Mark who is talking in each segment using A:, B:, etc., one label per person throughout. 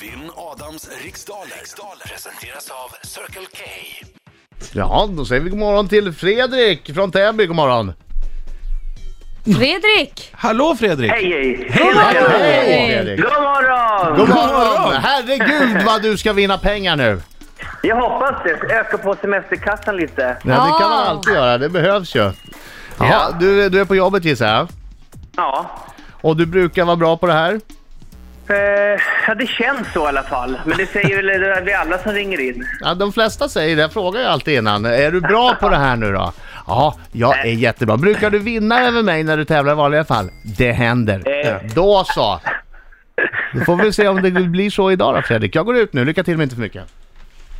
A: Vinn Adams riksdaler. riksdaler presenteras av Circle K.
B: Jaha, då säger vi god morgon till Fredrik från Täby. God morgon.
C: Fredrik!
D: Hallå Fredrik!
E: Hej, hej!
B: Hallå,
C: Hej.
B: Fredrik.
E: God morgon!
B: God morgon!
D: morgon.
B: Herregud vad du ska vinna pengar nu!
E: Jag hoppas det. Öka på semesterkassan lite.
B: Ja, det kan man
C: Ah.
B: alltid göra, det behövs ju. Jaha,
E: Ja.
B: du, du är på jobbet gissar jag.
E: Ja.
B: Och du brukar vara bra på det här.
E: Eh, ja, det känns så i alla fall. Men det säger väl det är vi alla som ringer in.
B: Ja, de flesta säger det, jag frågar ju alltid innan. Är du bra på det här nu då? Ja, jag är jättebra. Brukar du vinna över mig när du tävlar i vanliga fall? Det händer.
E: Eh.
B: Då så! Då får vi se om det blir så idag då Fredrik. Jag går ut nu, lycka till men inte för mycket.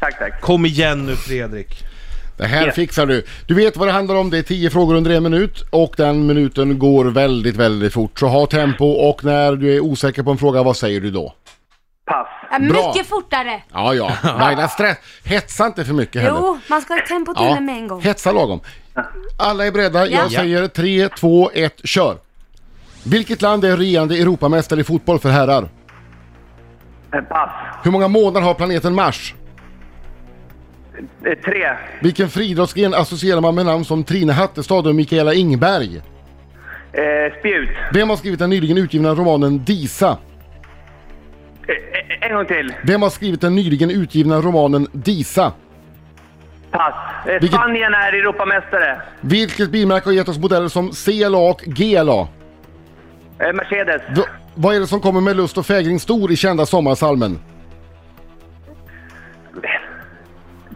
E: Tack, tack.
D: Kom igen nu Fredrik!
F: Det här fixar du. Du vet vad det handlar om. Det är 10 frågor under en minut och den minuten går väldigt, väldigt fort. Så ha tempo och när du är osäker på en fråga, vad säger du då?
E: Pass.
C: Ja,
F: Bra.
C: Mycket fortare!
F: Ja, ja. Laila, stress. Hetsa inte för mycket heller.
C: Jo, man ska ha tempot inne med en gång.
F: Hetsa lagom. Alla är beredda.
C: Ja.
F: Jag säger 3, 2, 1, kör. Vilket land är regerande Europamästare i fotboll för herrar?
E: Eh, Pass.
F: Hur många månader har planeten Mars?
E: Eh, tre.
F: Vilken friidrottsgren associerar man med namn som Trine Hattestad och Mikaela Ingberg?
E: Eh, spjut.
F: Vem har skrivit den nyligen utgivna romanen Disa?
E: Eh, eh, en gång till.
F: Vem har skrivit den nyligen utgivna romanen Disa?
E: Pass. Eh,
F: Vilket-
E: Spanien är Europamästare.
F: Vilket bilmärke har gett oss modeller som CLA och GLA?
E: Eh, Mercedes.
F: V- vad är det som kommer med Lust och fägring stor i kända sommarsalmen?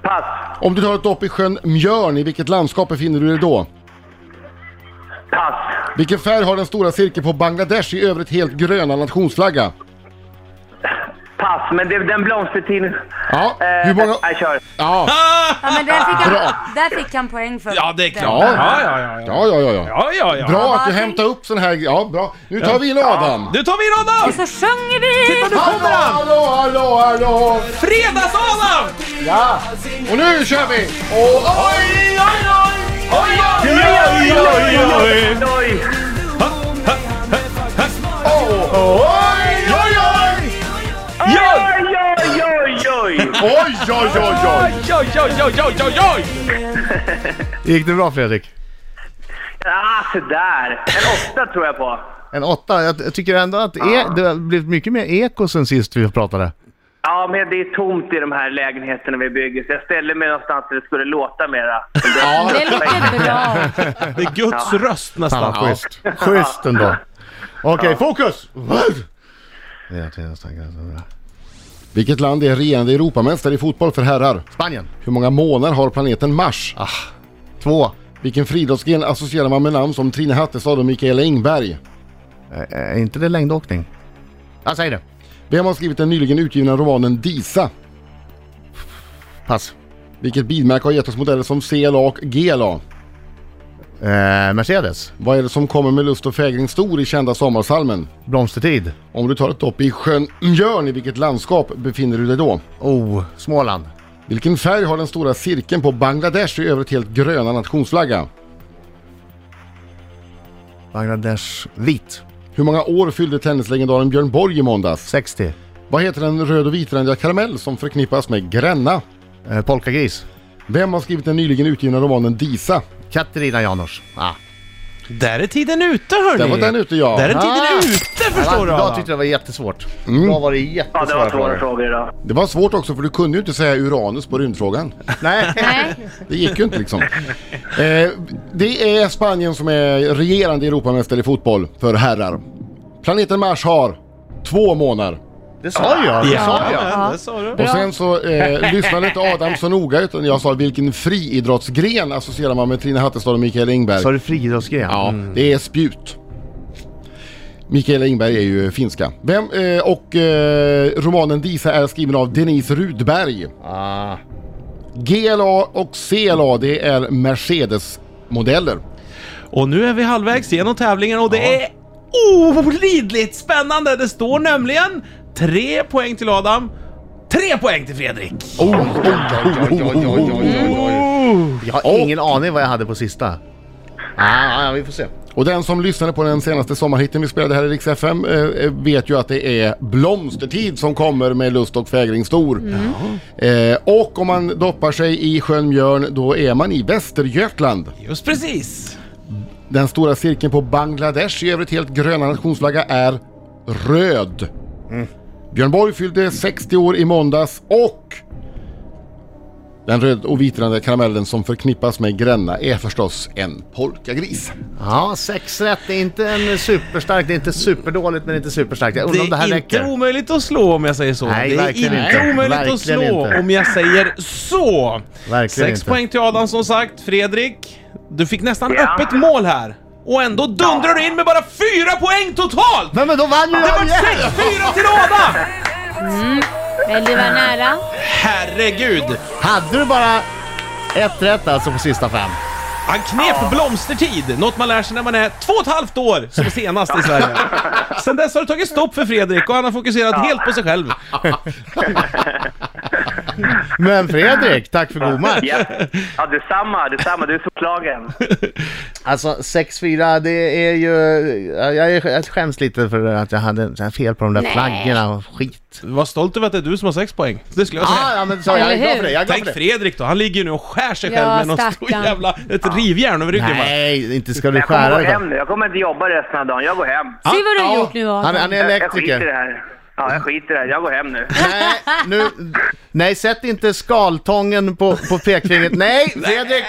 E: Pass.
F: Om du tar ett dopp i sjön Mjörn, i vilket landskap befinner du dig då?
E: Pass.
F: Vilken färg har den stora cirkeln på Bangladesh i övrigt helt gröna nationsflagga?
E: Pass. Men det, den blomstertiden...
F: Ja,
E: Eh,
F: hur många...
E: Jag kör.
F: Ja,
C: Ja, men där fick,
F: Bra.
C: han, där fick han poäng för.
D: Ja det är
C: den.
D: klart!
F: Ja.
D: ja, ja, ja.
F: ja, ja, ja.
D: ja,
F: ja.
D: ja, ja.
F: Bra att du
C: Ja,
F: hämtar upp sån här... Ja, bra. Nu tar vi in Adam.
D: Nu tar vi in
C: Och
D: Adam!
C: så sjunger vi!
F: Hallå, hallå, hallå, hallå!
D: Fredags-Adam!
F: Ja! Och nu kör vi!
D: Oj, oj, oj! Oj, oj, oj, oj, oj!
E: Oj!
F: Oj, oj, oj!
E: Oj,
D: Oj, oj, oj,
E: oj, oj, oj!
F: Oj, oj, oj, oj!
D: oj, oj, oj, oj!
B: Gick det bra Fredrik?
E: Ah, sådär. En åtta tror jag på.
B: En åtta. Jag jag tycker ändå att e- det har blivit mycket mer eko sen sist vi pratade.
E: Ja, men det är tomt i de här lägenheterna vi bygger, så jag ställer mig någonstans där det skulle låta mera.
C: Det låter bra.
D: Det är Guds röst
B: Fan
D: nästan.
B: vad schysst. Schysst ändå. Okej, fokus!
F: Vilket land är regerande Europamästare i fotboll för herrar?
B: Spanien.
F: Hur många månader har planeten Mars? Ah.
B: Två.
F: Vilken friidrottsgren associerar man med namn som Trine Hattestad och Mikaela Ingberg?
B: Är inte det längdåkning? Jag säger det.
F: Vem har skrivit den nyligen utgivna romanen Disa?
B: Pass.
F: Vilket bilmärke har gett oss modeller som CLA och GLA?
B: Eh, Mercedes.
F: Vad är det som kommer med Lust och fägring stor i kända sommarsalmen?
B: Blomstertid.
F: Om du tar ett dopp i sjön Mjörn, i vilket landskap befinner du dig då?
B: Oh, Småland.
F: Vilken färg har den stora cirkeln på Bangladesh i övrigt helt gröna nationsflagga?
B: Bangladesh. Vit.
F: Hur många år fyllde tennislegendaren Björn Borg i måndags?
B: 60.
F: Vad heter den röd och vitrandiga karamell som förknippas med Gränna?
B: Eh, polkagris.
F: Vem har skrivit den nyligen utgivna romanen Disa?
B: Katarina Janouch. Ah.
D: Där är tiden ute hörni!
F: Där var den ute ja.
D: Där är
B: Ah.
D: tiden ute förstår du
B: Jag
D: Adam!
B: tyckte det var jättesvårt. Idag var det
E: Ja, det
B: jättesvåra
E: var svåra
B: frågor.
E: frågor idag.
F: Det var svårt också för du kunde ju inte säga Uranus på rymdfrågan.
B: Nej.
C: Nej.
F: Det gick ju inte liksom. Eh, det är Spanien som är regerande Europamästare i fotboll för herrar. Planeten Mars har två månader.
B: Det sa jag. Det sa jag.
D: Ja, det sa du.
F: Och sen så eh, lyssnade inte Adam så noga utan jag sa vilken friidrottsgren associerar man med Trine Hattestad och Mikael Ingberg?
B: Sa du friidrottsgren?
F: Ja, Mm. det är spjut. Mikaela Ingberg är ju finska. Vem, eh, och eh, romanen Disa är skriven av Denise Rudberg.
B: Ah.
F: GLA och CLA, det är Mercedes-modeller.
D: Och nu är vi halvvägs genom tävlingen och det är olidligt spännande! Det står nämligen tre poäng till Adam, tre poäng till Fredrik!
F: Oh, oh, oh, oh, oh, oh, oh, oh.
B: Jag har ingen aning vad jag hade på sista. Ah, ja, vi får se.
F: Och den som lyssnade på den senaste sommarhitten vi spelade här i Rix FM eh, vet ju att det är blomstertid som kommer med Lust och fägring stor. Eh, och om man doppar sig i sjön Mjörn då är man i Västergötland.
D: Just precis.
F: Den stora cirkeln på Bangladesh i övrigt helt gröna nationsflagga är röd. Björn Borg fyllde 60 år i måndags och den röd och vitrande karamellen som förknippas med Gränna är förstås en polkagris.
B: Ja, sexrätt. Det är inte en superstark, det är inte superdåligt men inte superstarkt. Jag
D: Det
B: undrar om det här
D: är inte
B: räcker.
D: omöjligt att slå om jag säger så.
B: Nej,
D: det är
B: verkligen
D: inte
B: inte.
D: omöjligt att
B: Verkligen
D: slå
B: inte.
D: om jag säger så.
B: Verkligen
D: Sex
B: inte.
D: poäng till Adam som sagt. Fredrik, du fick nästan
E: Ja.
D: öppet mål här. Och ändå dundrar du in med bara fyra poäng totalt!
B: Men, men då vann ju
D: Det var
B: jag igen!
D: 6-4 till Adam!
C: Men du var nära.
D: Herregud!
B: Hade du bara ett rätt alltså på sista fem?
D: Han knep blomstertid, något man lär sig när man är två och ett halvt år som senast i Sverige. Sen dess har det tagit stopp för Fredrik och han har fokuserat helt på sig själv.
B: Men Fredrik, tack för god match!
E: Ja, ja detsamma, detsamma. Du är så klagen.
B: Alltså 6-4, det är ju... Jag, är- jag skäms lite för att jag hade så här fel på de där flaggorna och skit.
D: Var stolt över att det är du som har sex poäng. Det skulle jag säga.
B: Ja, ja men så, jag är
C: Eller
B: glad
C: hur?
B: för det. Jag är glad
D: Tänk
B: för det.
D: Fredrik då, han ligger ju nu och skär sig själv
C: Ja,
D: med någon stor
C: stackarn.
D: jävla, ett rivjärn över ryggen va?
B: Nej, inte ska du
E: Jag kommer
B: skära
E: gå
B: dig.
E: hem nu. Jag kommer inte jobba resten av dagen. Jag går hem.
C: Se vad du har
B: Ja,
C: gjort nu Adam.
B: Han, han är
E: Jag, jag skiter i det
B: elektriker.
E: här. Ja, jag skiter i det här. Jag går hem nu.
B: Nej, nu, nej, sätt inte skaltången på, på pekfingret. Nej, Fredrik!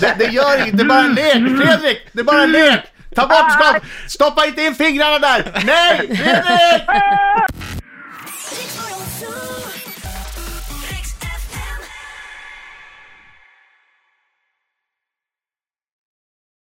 B: Det, det gör inte, det är bara en lek. Fredrik, det är bara en lek! Ta bort skal... Stoppa inte in fingrarna där! Nej, Fredrik!